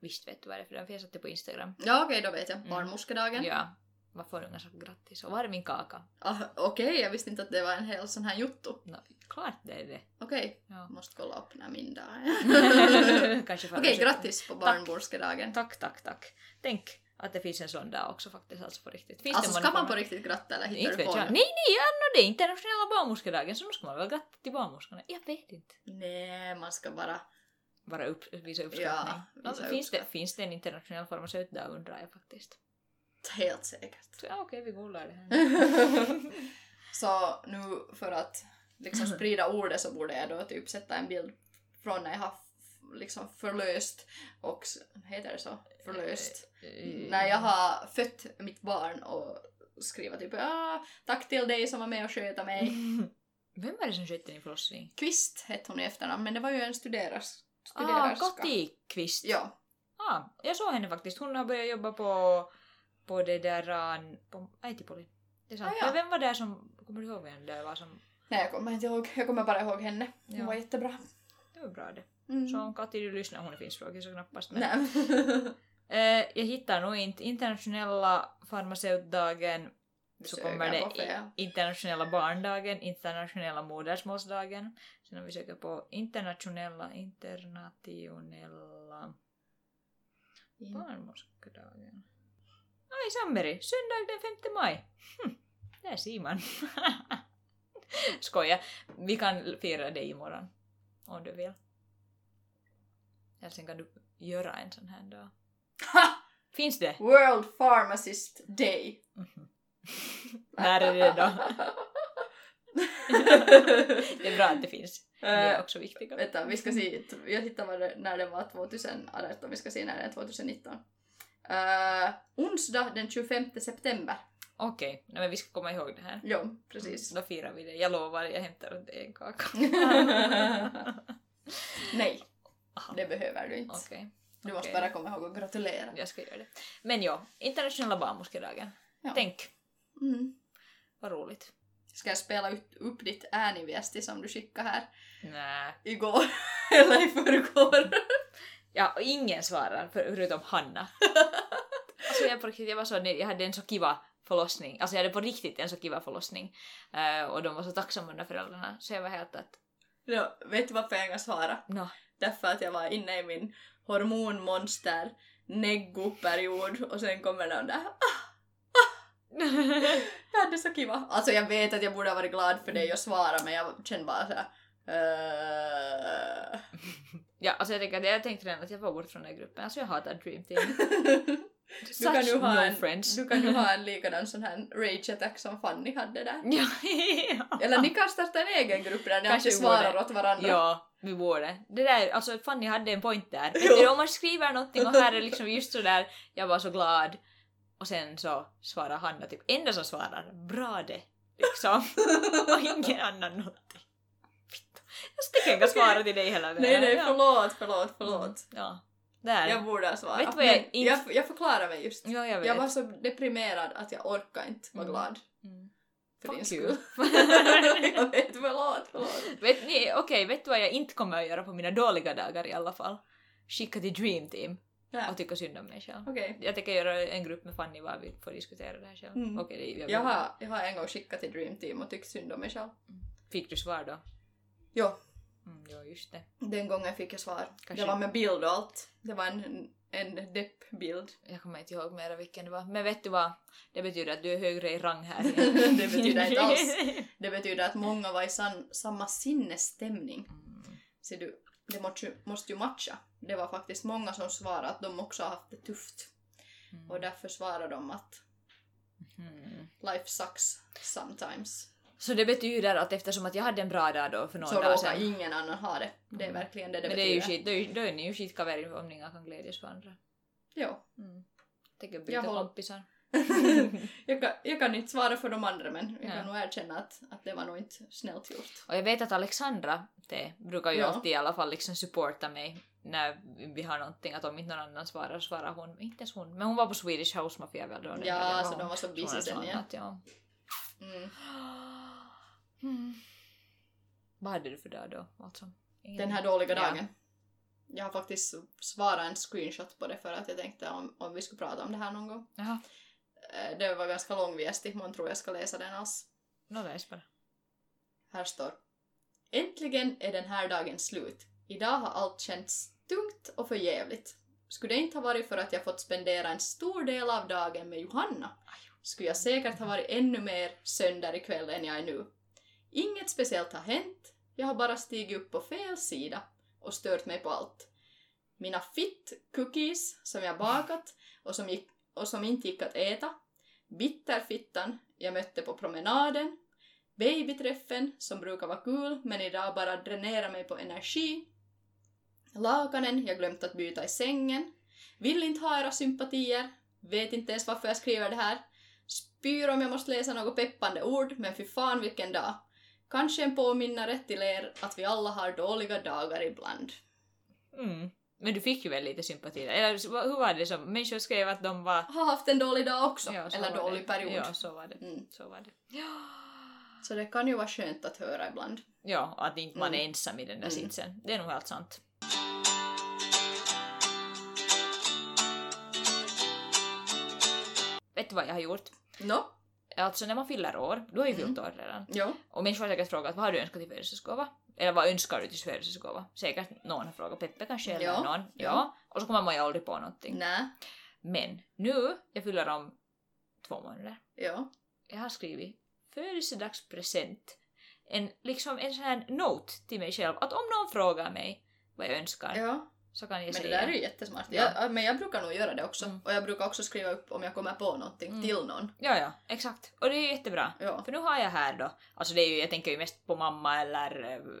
C: Visst vet du vad det är för dag, för jag satte på Instagram.
B: Ja okej, då vet jag.
C: Mm.
B: Barnmorskedagen.
C: Ja. Vad får ungarna så grattis? Och var är min kaka?
B: Ah, okej, jag visste inte att det var en hel sån här juttu.
C: No, klart
B: [laughs]
C: det är det.
B: Okej,
C: Ja.
B: måste kolla upp när min dag är. [laughs]
C: [laughs] Kanske får
B: Okej,
C: jag-
B: grattis på barnmorskedagen.
C: Tack, tack, tack. Tänk att det finns en sån dag också faktiskt, alltså på riktigt. Finns
B: Alltså
C: det
B: ska man
C: någon-
B: på riktigt gratta eller hittar
C: Inte
B: du
C: vet
B: på
C: jag. Nej,
B: nu?
C: nej, ja, no, det är internationella barnmorskedagen så nu ska man väl gratta till barnmorskorna. Jag vet inte.
B: Nej, man ska bara...
C: Bara upp, visa uppskattning.
B: Ja,
C: Ja,
B: visa
C: finns, det,
B: uppskattning.
C: finns det en internationell farmaceutdag undrar jag faktiskt.
B: Helt säkert.
C: Så, ja, okej, vi googlar det
B: [laughs]
C: här.
B: Så nu för att
C: Mhm.
B: liksom sprida ordet så borde jag då typ sätta en bild från när jag har f- liksom förlöst och... s- Heter det så? Förlöst?
C: Eh,
B: när jag har fött mitt barn och skriva typ ah, tack till dig som var med och sköta
C: Mhm.
B: mig.
C: Eh, Vem var det som skötte din förlossning?
B: Kvist hette hon i efternamn men det var ju en studeras,
C: Ah,
B: studerarska.
C: Kati Kvist.
B: Ja,
C: Ah, jag såg henne faktiskt. Hon har börjat jobba på, på det där... an- På Aitipolin. Det är sant.
B: Ah, ja.
C: Men vem var där som... Kommer du ihåg vem det var som...
B: nej jag kommer inte ihåg. Jag kommer bara ihåg henne. Hon
C: Ja.
B: var jättebra.
C: Det var bra det.
B: Mm.
C: Så om Kati du lyssnar, hon är finskspråkig så knappast. men-
B: Nej. [laughs]
C: Eh, jag hittar nog inte internationella farmaceutdagen så
B: Besöka
C: kommer det
B: på fel.
C: i- internationella barndagen, internationella modersmålsdagen. Sen om vi söker på internationella, internationella
B: Mm.
C: barnmorskedagen. Oj, Sammeri, söndag den 5 maj. Hm, där ser man. [laughs] Skoja, vi kan fira det imorgon om du vill. Eller sen kan du göra en sån här dag.
B: Ha!
C: Finns det?
B: World Pharmacist Day.
C: Mm-hmm. När är det då? [laughs] Det är bra att det finns. Det är
B: Eh,
C: också viktigt.
B: Vänta, vi ska se. Jag hittade vad det, när det var 2018, vi ska se när det är 2019. Eh, onsdag den 25 september.
C: Okej, nej, men vi ska komma ihåg det här.
B: Jo, precis.
C: Då firar vi det. Jag lovar, jag hämtar åt dig en kaka.
B: [laughs] Nej,
C: Aha,
B: det behöver du inte.
C: Okej,
B: Du måste
C: okej.
B: bara komma ihåg att gratulera.
C: jag ska göra det. Men ja, internationella barnmorskedagen.
B: Ja.
C: Tänk,
B: Mm.
C: vad roligt.
B: Ska jag spela ut, upp ditt ääniviesti som du skickade här
C: Nä.
B: igår? [laughs] Eller i förrgår?
C: Ja, och ingen svarar för, förutom
B: [laughs]
C: Hanna. alltså jag på riktigt, jag var så nöjd. Jag hade en så kiva förlossning. Alltså jag hade på riktigt en så kiva förlossning. Eh, och de var så tacksamma de föräldrarna. Så jag var helt att,
B: Ja, vet du varför jag engas svara?
C: nå,
B: Därför att jag var inne i min hormonmonster neggo-period och sen kommer någon där ah,
C: [laughs]
B: Ja, det är så kiva. Alltså jag vet att jag borde ha varit glad för dig och svara men jag känner bara såhär...
C: "Äh."
B: Uh...
C: ja, alltså jag tänker att jag tänkte redan att jag var bort från den här gruppen. Alltså jag hatar Dream Team.
B: [laughs]
C: Such
B: du, kan ju
C: no
B: ha en,
C: friends.
B: du kan ju ha en likadan sån här rage attack som Fanny hade där.
C: ja, [laughs]
B: Eller ni kan starta en egen grupp där ni
C: Kanske
B: alltid
C: vi borde.
B: svarar åt varandra.
C: ja, vi borde. Det där, alltså Fanny hade en
B: [laughs]
C: point där. Vet
B: Jo.
C: du, om man skriver någonting och här är liksom just sådär, jag var så glad. Och sen så svarar Hanna typ, enda som svarar, bra det.
B: [laughs]
C: Liksom. och ingen annan någonting. Fitta. Jag tänker inte svara till dig hela
B: Nej, nej,
C: Ja. Mm.
B: förlåt, förlåt, förlåt.
C: Ja. Där.
B: Jag borde ha svarat.
C: Vet du vad jag
B: Men
C: inte-
B: jag, jag förklarar mig just.
C: Ja, jag vet.
B: Jag var så deprimerad att jag orkar inte vara
C: Mm.
B: glad
C: Mm.
B: för
C: Fuck
B: din
C: you.
B: skull. [laughs]
C: [laughs]
B: jag vet, förlåt, förlåt.
C: Vet ni, okej, vet du vad jag inte kommer att göra på mina dåliga dagar i alla fall? Skicka till Dream Team
B: Ja,
C: och tycka synd om mig själv.
B: Okej.
C: Jag tänker göra en grupp med Fanny var vi får diskutera det här själv.
B: Mm.
C: Okej, det- jag,
B: Jag har, jag har en gång skickat till Dream Team och tyckt synd om mig själv.
C: Fick du svar då?
B: Jo,
C: Mm, ja, just det.
B: den gången fick jag svar.
C: Kanske-
B: Det var med bild och allt. Det var en, en deppbild.
C: Jag kommer inte ihåg mera vilken det var. Men vet du vad? Det betyder att du är högre i rang här.
B: [laughs] Det betyder inte alls. Det betyder att många var i san, samma sinnesstämning.
C: Mm.
B: Ser du, det måste, ju- måste ju matcha. Det var faktiskt många som svarade att de också har haft det tufft.
C: Mm.
B: Och därför svarade de att
C: Mm.
B: life sucks sometimes.
C: Så det betyder att eftersom att jag hade en bra dag då för några
B: Så
C: dagar
B: råkar
C: sedan.
B: ingen annan ha det. Det är
C: Mm.
B: verkligen det det
C: Men det
B: betyder.
C: är ju skit, då är, då är ni ju skitkaverer om ni inte kan glädjas varandra. [laughs]
B: Jo.
C: Mm. Tänker
B: Jag
C: byta
B: håller- [laughs]
C: kompisar.
B: jag, kan, jag kan inte svara för de andra men jag
C: Ja.
B: kan nog erkänna att, att det var nog inte snällt gjort.
C: Och jag vet att Alexandra det brukar ju
B: Ja.
C: alltid i alla fall liksom supporta mig när vi har någonting, att om inte någon annan svarar så svarar hon. Inte ens hon. Men hon var på Swedish House Mafia väl då? den helgen,
B: Ja,
C: var
B: så
C: hon?
B: de var så
C: Så hon
B: busy
C: hade
B: sen ja.
C: svarat, ja.
B: Mm.
C: Mm. Vad hade du för dag då? Alltså, ingen-
B: Den här dåliga
C: Ja.
B: dagen. Jag har faktiskt svarat en screenshot på det för att jag tänkte om, om vi skulle prata om det här någon gång.
C: Jaha,
B: Eh, Det var ganska lång viesti, man tror jag ska läsa den alls.
C: nå läs bara.
B: Här står. Äntligen är den här dagen slut. Idag har allt känts tungt och förjävligt. Skulle det inte ha varit för att jag fått spendera en stor del av dagen med Johanna skulle jag säkert ha varit ännu mer sönder ikväll än jag är nu. Inget speciellt har hänt, jag har bara stigit upp på fel sida och stört mig på allt. Mina fitt cookies som jag bakat och som, gick, och som inte gick att äta, bitterfittan jag mötte på promenaden, babyträffen som brukar vara kul men idag bara dränerar mig på energi, lakanen jag glömt att byta i sängen, vill inte ha era sympatier, vet inte ens varför jag skriver det här, spyr om jag måste läsa något peppande ord men fy fan vilken dag. Kanske en påminnare till er att vi alla har dåliga dagar ibland.
C: Mm. Men du fick ju väl lite sympati där? Eller så- hur var det som, människor skrev att de var...
B: Har haft en dålig dag också,
C: Ja, så
B: eller
C: var
B: dålig
C: det.
B: period.
C: Ja, så var det.
B: Mm.
C: Så var det. Ja.
B: Så det kan ju vara skönt att höra ibland.
C: Ja, och att inte man är
B: Mm.
C: ensam i den
B: Mm.
C: där sitsen. Det är nog helt sant. Vet du vad jag har gjort?
B: Nå,
C: Alltså när man fyller år, du har ju fyllt
B: Mm.
C: år redan,
B: jo.
C: och människor har säkert frågat vad har du önskat till födelsedagsgåva? Eller vad önskar du till födelsedagsgåva? Säkert någon har frågat, Peppe kanske eller
B: Ja.
C: någon. Ja.
B: Ja.
C: Och så kommer man ju aldrig på någonting.
B: Nä,
C: Men nu, jag fyller om två månader,
B: jo.
C: jag har skrivit födelsedagspresent. En, liksom en sån här note till mig själv att om någon frågar mig vad jag önskar
B: jo.
C: så kan jag
B: Men det
C: säga.
B: där är ju jättesmart.
C: Ja.
B: Jag, men jag brukar nog göra det också.
C: Mm.
B: Och jag brukar också skriva upp om jag kommer på någonting
C: Mm.
B: till någon.
C: Ja, ja, exakt. Och det är ju jättebra.
B: Ja.
C: För nu har jag här då, alltså det är ju, jag tänker ju mest på mamma eller,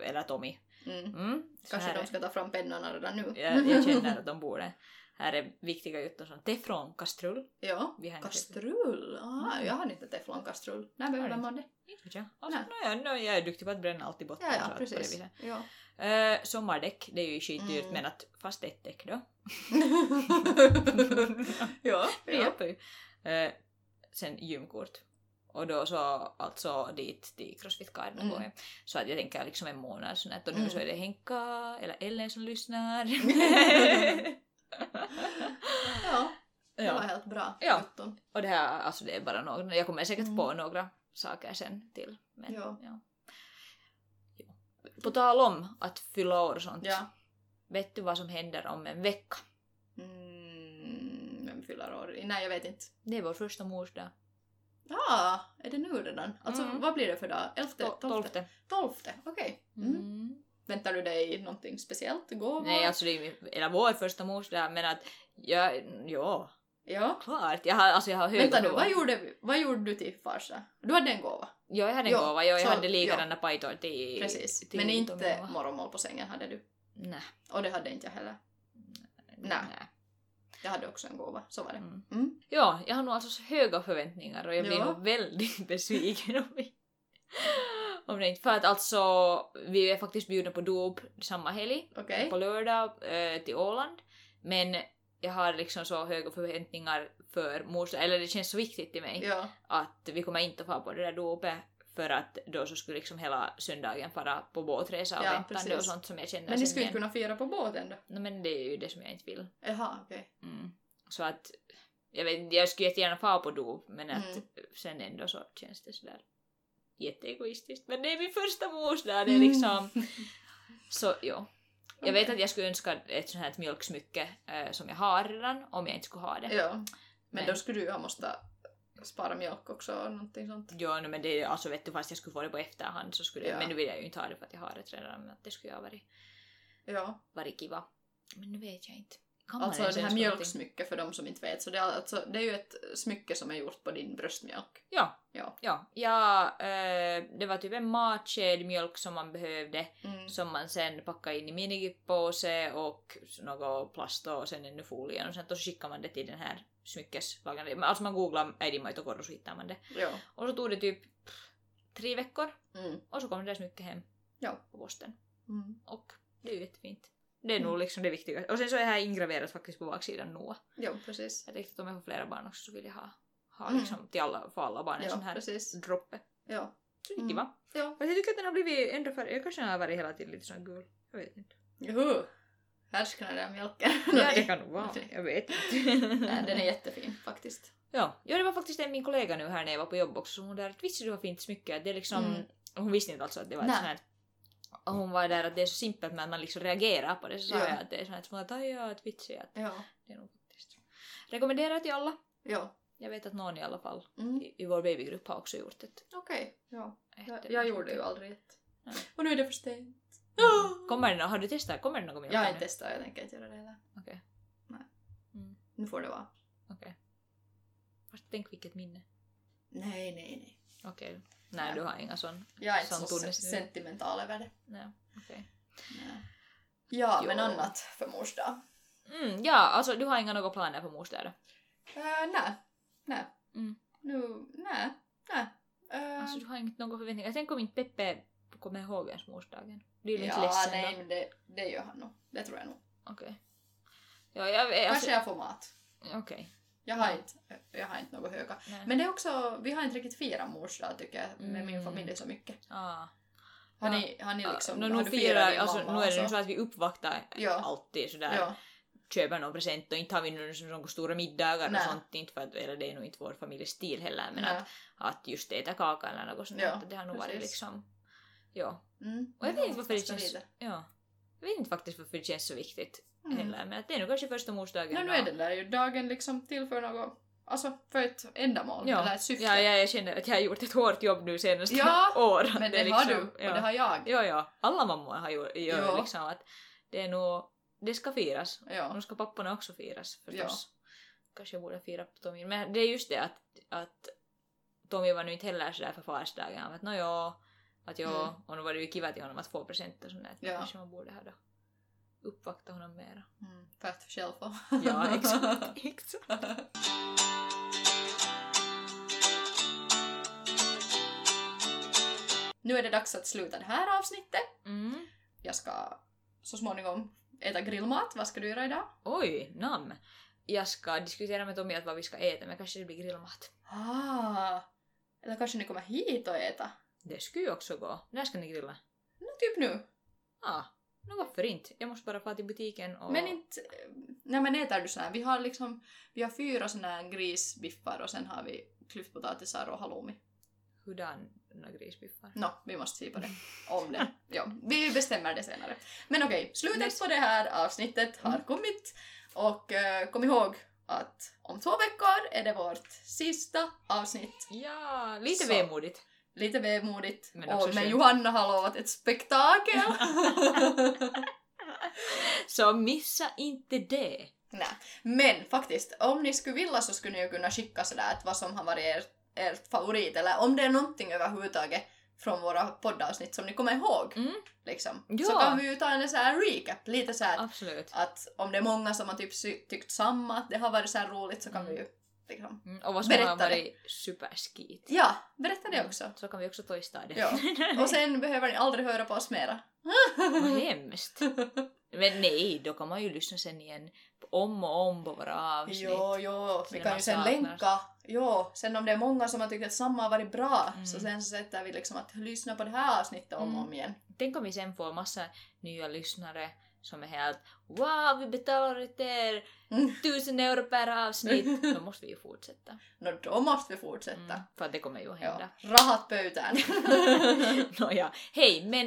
C: eller Tommy.
B: Mm.
C: Mm, så
B: Kanske
C: här
B: de
C: är-
B: ska ta fram pennorna redan nu.
C: [laughs] jag, jag känner att de borde. Här är viktiga juttor som teflonkastrull.
B: [laughs] ja.
C: Vi har inte-
B: Kastrull? Aha, jag har inte teflonkastrull. När behöver
C: Mm. inte?
B: man det?
C: Inte vet jag. Alltså,
B: Nej.
C: no, jag, no, jag är duktig på att bränna allt i botten.
B: Ja,
C: så att
B: ja,
C: på det
B: precis.
C: viset. [laughs]
B: Ja.
C: Eh, sommardäck, det är ju skitdyrt
B: Mm.
C: men att fast ett däck då.
B: ja,
C: Det hjälper ju. Eh, sen gymkort. Och då så alltså dit till Crossfit Garden
B: Mm.
C: går jag. Så att jag tänker liksom en månad sånt här. och nu
B: Mm.
C: så är det Henka eller Ellen som lyssnar.
B: [laughs]
C: [laughs]
B: ja. Det var
C: ja.
B: helt bra.
C: Ja.
B: Sjutton.
C: Och det här alltså det är bara några, jag kommer säkert
B: Mm.
C: på några saker sen till. Men,
B: Ja.
C: Ja. Jo. På tal om att fylla år och sånt.
B: ja.
C: Vet du vad som händer om en vecka?
B: Mm, vem fyller år? Nej, jag vet inte.
C: Det är vår första morsdag.
B: Ja, är det nu redan? Alltså
C: Mm.
B: vad blir det för dag? Elfte?
C: Tol-
B: Tolfte?
C: Tolfte.
B: Tolfte, okej. Mm.
C: Mm.
B: Väntar du dig någonting speciellt? Gåvor?
C: Nej, alltså det är ju hela vår första morsdag men att jag, ja,
B: Ja.
C: klart. Jag har, alltså jag har höga
B: Vänta nu,
C: förväntningar.
B: vad gjorde, vi- vad gjorde du till farsa? Du hade en gåva,
C: Ja, jag hade en
B: Jo,
C: gåva. Ja, jag
B: så-
C: hade likadana
B: ja.
C: pajtor till...
B: precis.
C: till
B: Men
C: Tommy
B: inte
C: va?
B: morgonmål på sängen hade du.
C: Nej.
B: Och det hade inte jag heller. Nej. Jag hade också en gåva, så var det.
C: Mm.
B: Mm.
C: Ja, jag har nog alltså så höga förväntningar och jag blir
B: Ja.
C: nog väldigt [laughs] besviken om vi... Om det inte... För att alltså, vi är faktiskt bjudna på dop samma helg,
B: Okej.
C: på lördag, eh, till Åland. Men jag har liksom så höga förväntningar för morsdag, eller det känns så viktigt till mig.
B: Ja.
C: att vi kommer inte att fara på det där dopet för att då så skulle liksom hela söndagen fara på båtresa och
B: Ja,
C: väntande och
B: precis.
C: sånt som jag känner
B: Men ni
C: sen
B: skulle
C: igen.
B: inte kunna fira på båten då?
C: No, men det är ju det som jag inte vill.
B: Jaha, okej.
C: Mm. Så att jag, vet, jag skulle jättegärna fara på dop men att
B: Mm.
C: sen ändå så känns det sådär jätteegoistiskt. Men det är min första morsdag, det är
B: [laughs]
C: liksom så ja. Jag vet
B: Mm. Okej.
C: att jag skulle önska ett sånt här mjölksmycke eh, som jag har redan om jag inte skulle ha det.
B: Ja. Men,
C: Men-
B: då skulle du ju ha måste spara mjölk också och någonting sånt.
C: Ja, no, men det är ju- alltså vet du fast jag skulle få det på efterhand så skulle
B: Ja.
C: men nu vill jag ju inte ha det för att jag har det redan men att det skulle ju ha varit,
B: Ja.
C: varit kiva. Men nu vet jag inte. Kan man
B: Alltså
C: ens
B: det här
C: önska någonting?
B: mjölksmycket för de som inte vet. Så det, är, alltså, det är ju ett smycke som är gjort på din bröstmjölk.
C: Ja.
B: Ja.
C: Ja, ja eh, det var typ en matsked mjölk som man behövde
B: Mm.
C: som man sen packade in i minipåse och något plast och sen ännu folien och sen så skickade man det till den här smyckeslagaren. Men Alltså man googlar äidinmaitokorv så hittar man det.
B: Ja.
C: Och så tog det typ pff, tre veckor
B: Mm.
C: och så kom det där smycket hem
B: Ja.
C: på posten.
B: Mm.
C: Och det är ju jättefint. Det är
B: Mm.
C: nog liksom det viktigaste. Och sen så är det här ingraverat faktiskt på baksidan nu.
B: Jo, precis.
C: Jag tänkte att om jag får flera barn också så vill jag ha, ha
B: Mm.
C: liksom till alla, för alla barn en sån
B: Ja,
C: här
B: precis.
C: droppe.
B: Ja.
C: Så det är
B: Mm.
C: kiva.
B: Ja.
C: Fast jag tycker att den har blivit ändå för... Jag kanske har varit hela tiden lite sån gul. Jag vet inte.
B: Juhu! Härskarna där mjölken.
C: Ja, det kan nog vara.
B: [laughs] Nej.
C: Jag vet
B: [laughs] Nej, den är
C: inte.
B: jättefin faktiskt.
C: ja. ja, det var faktiskt en min kollega nu här när jag var på jobb också. Hon där att visste du har fint smycke? Att Det är liksom...
B: Mm.
C: Hon visste inte alltså att det var ett
B: Nej.
C: sånt här... Och hon var där att det är så simpelt men att man liksom reagerar på det. Så sa
B: Ja.
C: jag att det är sånt här att "Aj, ja, att vitsi att
B: Ja.
C: Det är nog faktiskt. Rekommenderar till alla.
B: Ja.
C: Jag vet att någon i alla fall
B: Mm.
C: i, i vår babygrupp har också gjort ett.
B: Okej. No, Ja.
C: ett
B: Jag, jag gjorde ju aldrig ett.
C: Nej.
B: Och nu är det för sent.
C: Mm. Kommer det nå- Har du testat? Kommer det något mjölk
B: Jag har
C: nu?
B: inte testat, jag tänker inte göra det heller.
C: Okej.
B: Nej.
C: Mm.
B: Nu får det vara.
C: Okej. Fast tänk vilket minne.
B: Nej, nej, nej.
C: Okej. Nej,
B: Nej.
C: du har inga sån.
B: Jag är inte
C: Sån
B: så
C: tunnis nu.
B: se- sentimental över det.
C: Nej, okej.
B: Nej. Ja,
C: Jo.
B: men annat för mors dag.
C: Mm, ja, alltså du har inga några planer på mors dag då?
B: Eh, nej. Nej.
C: Mm.
B: Nu, nej. Nej. Eh,
C: Alltså du har inte några förväntningar? Tänk om inte Peppe kommer ihåg ens morsdagen. Blir du inte
B: ja,
C: ledsen
B: nej,
C: då?
B: men det, det gör han nog. Det tror jag nog.
C: Okej. Ja, jag... Alltså,
B: Kanske jag får mat.
C: Okej.
B: Jag har,
C: Ja.
B: inte, jag har inte något höga.
C: Nej.
B: Men det är också, vi har inte riktigt firat mors dag tycker jag med min
C: Mm.
B: familj så mycket.
C: Ah.
B: Har
C: Ja.
B: ni, har ni liksom,
C: no,
B: har
C: nu
B: du
C: firar,
B: din
C: alltså,
B: mamma
C: nu är
B: och
C: det ju
B: så?
C: så att vi uppvaktar
B: Ja.
C: alltid sådär,
B: Ja,
C: köper någon present och inte har vi nu liksom några stora middagar
B: Nej.
C: och sånt inte för att, eller det är nog inte vår familjestil heller men
B: nej.
C: att, att just äta kaka eller något sånt
B: Ja,
C: att det har nog varit
B: precis.
C: liksom, ja.
B: Mm,
C: Och jag vet inte varför det
B: ganska
C: känns,
B: lite.
C: ja. Jag vet inte faktiskt varför det känns så viktigt
B: Mm.
C: heller men att det är nog kanske första morsdagen
B: Nej, nu
C: och-
B: är den där ju dagen liksom till för något, alltså för ett ändamål
C: ja.
B: eller ett syfte.
C: Ja, ja, jag känner att jag har gjort ett hårt jobb nu senaste [laughs]
B: Ja,
C: åren.
B: Men
C: är
B: det har du
C: liksom-
B: och
C: ja.
B: det har jag.
C: Ja, ja. Alla mammor har gjort gör
B: Ja.
C: liksom att det är nog, det ska firas
B: Ja.
C: Nu ska papporna också firas förstås.
B: Ja.
C: Kanske jag borde fira på Tommy. Men det är just det att, att Tommy var nu inte heller sådär för farsdagen. Han var att nåjo, att jo,
B: Mm.
C: och nu var det ju kiva till honom att få presenter och sånt där.
B: Ja.
C: Kanske man borde ha då uppvakta honom mera.
B: Mm, för att själv få.
C: Ja, exakt. exakt.
B: Nu är det dags att sluta det här avsnittet.
C: Mm.
B: Jag ska så småningom äta grillmat. Vad ska du göra idag?
C: Oj, namn. Jag ska diskutera med Tommy att vad vi ska äta men kanske det blir grillmat.
B: Ah, eller kanske ni kommer hit och äta?
C: Det skulle ju också gå. När ska ni grilla?
B: No, typ nu.
C: Ja, ah, nå varför inte? Jag måste bara fara till butiken och...
B: Men inte... Nej men äter du sån här? Vi har liksom... Vi har fyra såna här grisbiffar och sen har vi klyftpotatisar och halloumi.
C: Hurdana grisbiffar?
B: Nå, vi måste se på det. Om det. Ja, vi bestämmer det senare. Men okej, slutet på det här avsnittet har kommit. Och eh, kom ihåg att om två veckor är det vårt sista avsnitt.
C: Ja, lite
B: Så.
C: vemodigt.
B: Lite vemodigt.
C: Men också
B: och, men
C: skönt.
B: Johanna har lovat ett
C: [laughs]
B: spektakel. [laughs]
C: Så missa inte det.
B: Nej. Men faktiskt, om ni skulle vilja så skulle ni ju kunna skicka sådär att vad som har varit ert, ert favorit eller om det är någonting överhuvudtaget från våra poddavsnitt som ni kommer ihåg.
C: Mm.
B: Liksom. Så
C: Ja.
B: kan vi ju ta en så här recap, lite så här
C: Absolut.
B: att om det är många som har typ sy- tyckt samma, att det har varit så här roligt så kan
C: Mm.
B: vi ju liksom...
C: Mm, och vad som har
B: Berätta det.
C: varit superskit. Mm,
B: Ja, berätta det också.
C: Så kan vi också toista det.
B: Ja. Och sen behöver ni aldrig höra på oss mera.
C: [laughs] Vad hemskt. Men nej, då kan man ju lyssna sen igen om och om på våra avsnitt.
B: Jo, jo, vi
C: Sen
B: kan
C: man
B: ju sen
C: saknar.
B: länka. Jo, sen om det är många som har tyckt att samma har varit bra
C: Mm.
B: så sen så sätter vi liksom att lyssna på det här avsnittet om och
C: Mm.
B: om igen.
C: Tänk om vi sen får massa nya lyssnare som är helt Wow, vi betalar ut er
B: Mm.
C: tusen euro per
B: [laughs]
C: avsnitt. Då måste vi ju fortsätta.
B: Nå då måste vi
C: Mm,
B: fortsätta.
C: för att det kommer ju att
B: Ja.
C: hända.
B: Rahat pöytään. [laughs]
C: [coughs] Nåja, hej! No Men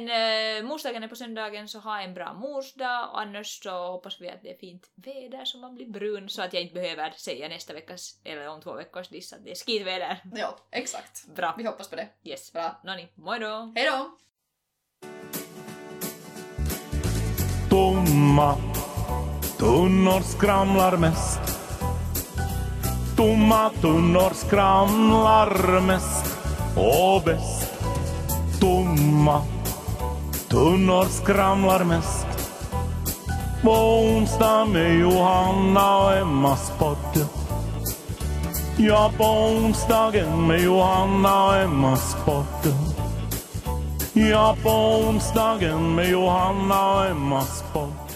C: äh, morsdagen är på söndagen så ha en bra morsdag och annars så hoppas vi att det är fint väder så man blir brun så att jag inte behöver säga nästa veckas eller om två veckors diss att det är skitväder.
B: jo, exakt.
C: Bra!
B: Vi hoppas på det.
C: Yes.
B: Bra.
C: Noni, moi då!
B: Hej då!
A: Tomma tunnor skramlar mest. Tomma tunnor skramlar mest och bäst. Tomma tunnor skramlar mest. På onsdag med Johanna och Emmas podd. Ja, på onsdagen med Johanna och Emmas podd. Ja, på onsdagen med Johanna och Emmas podd.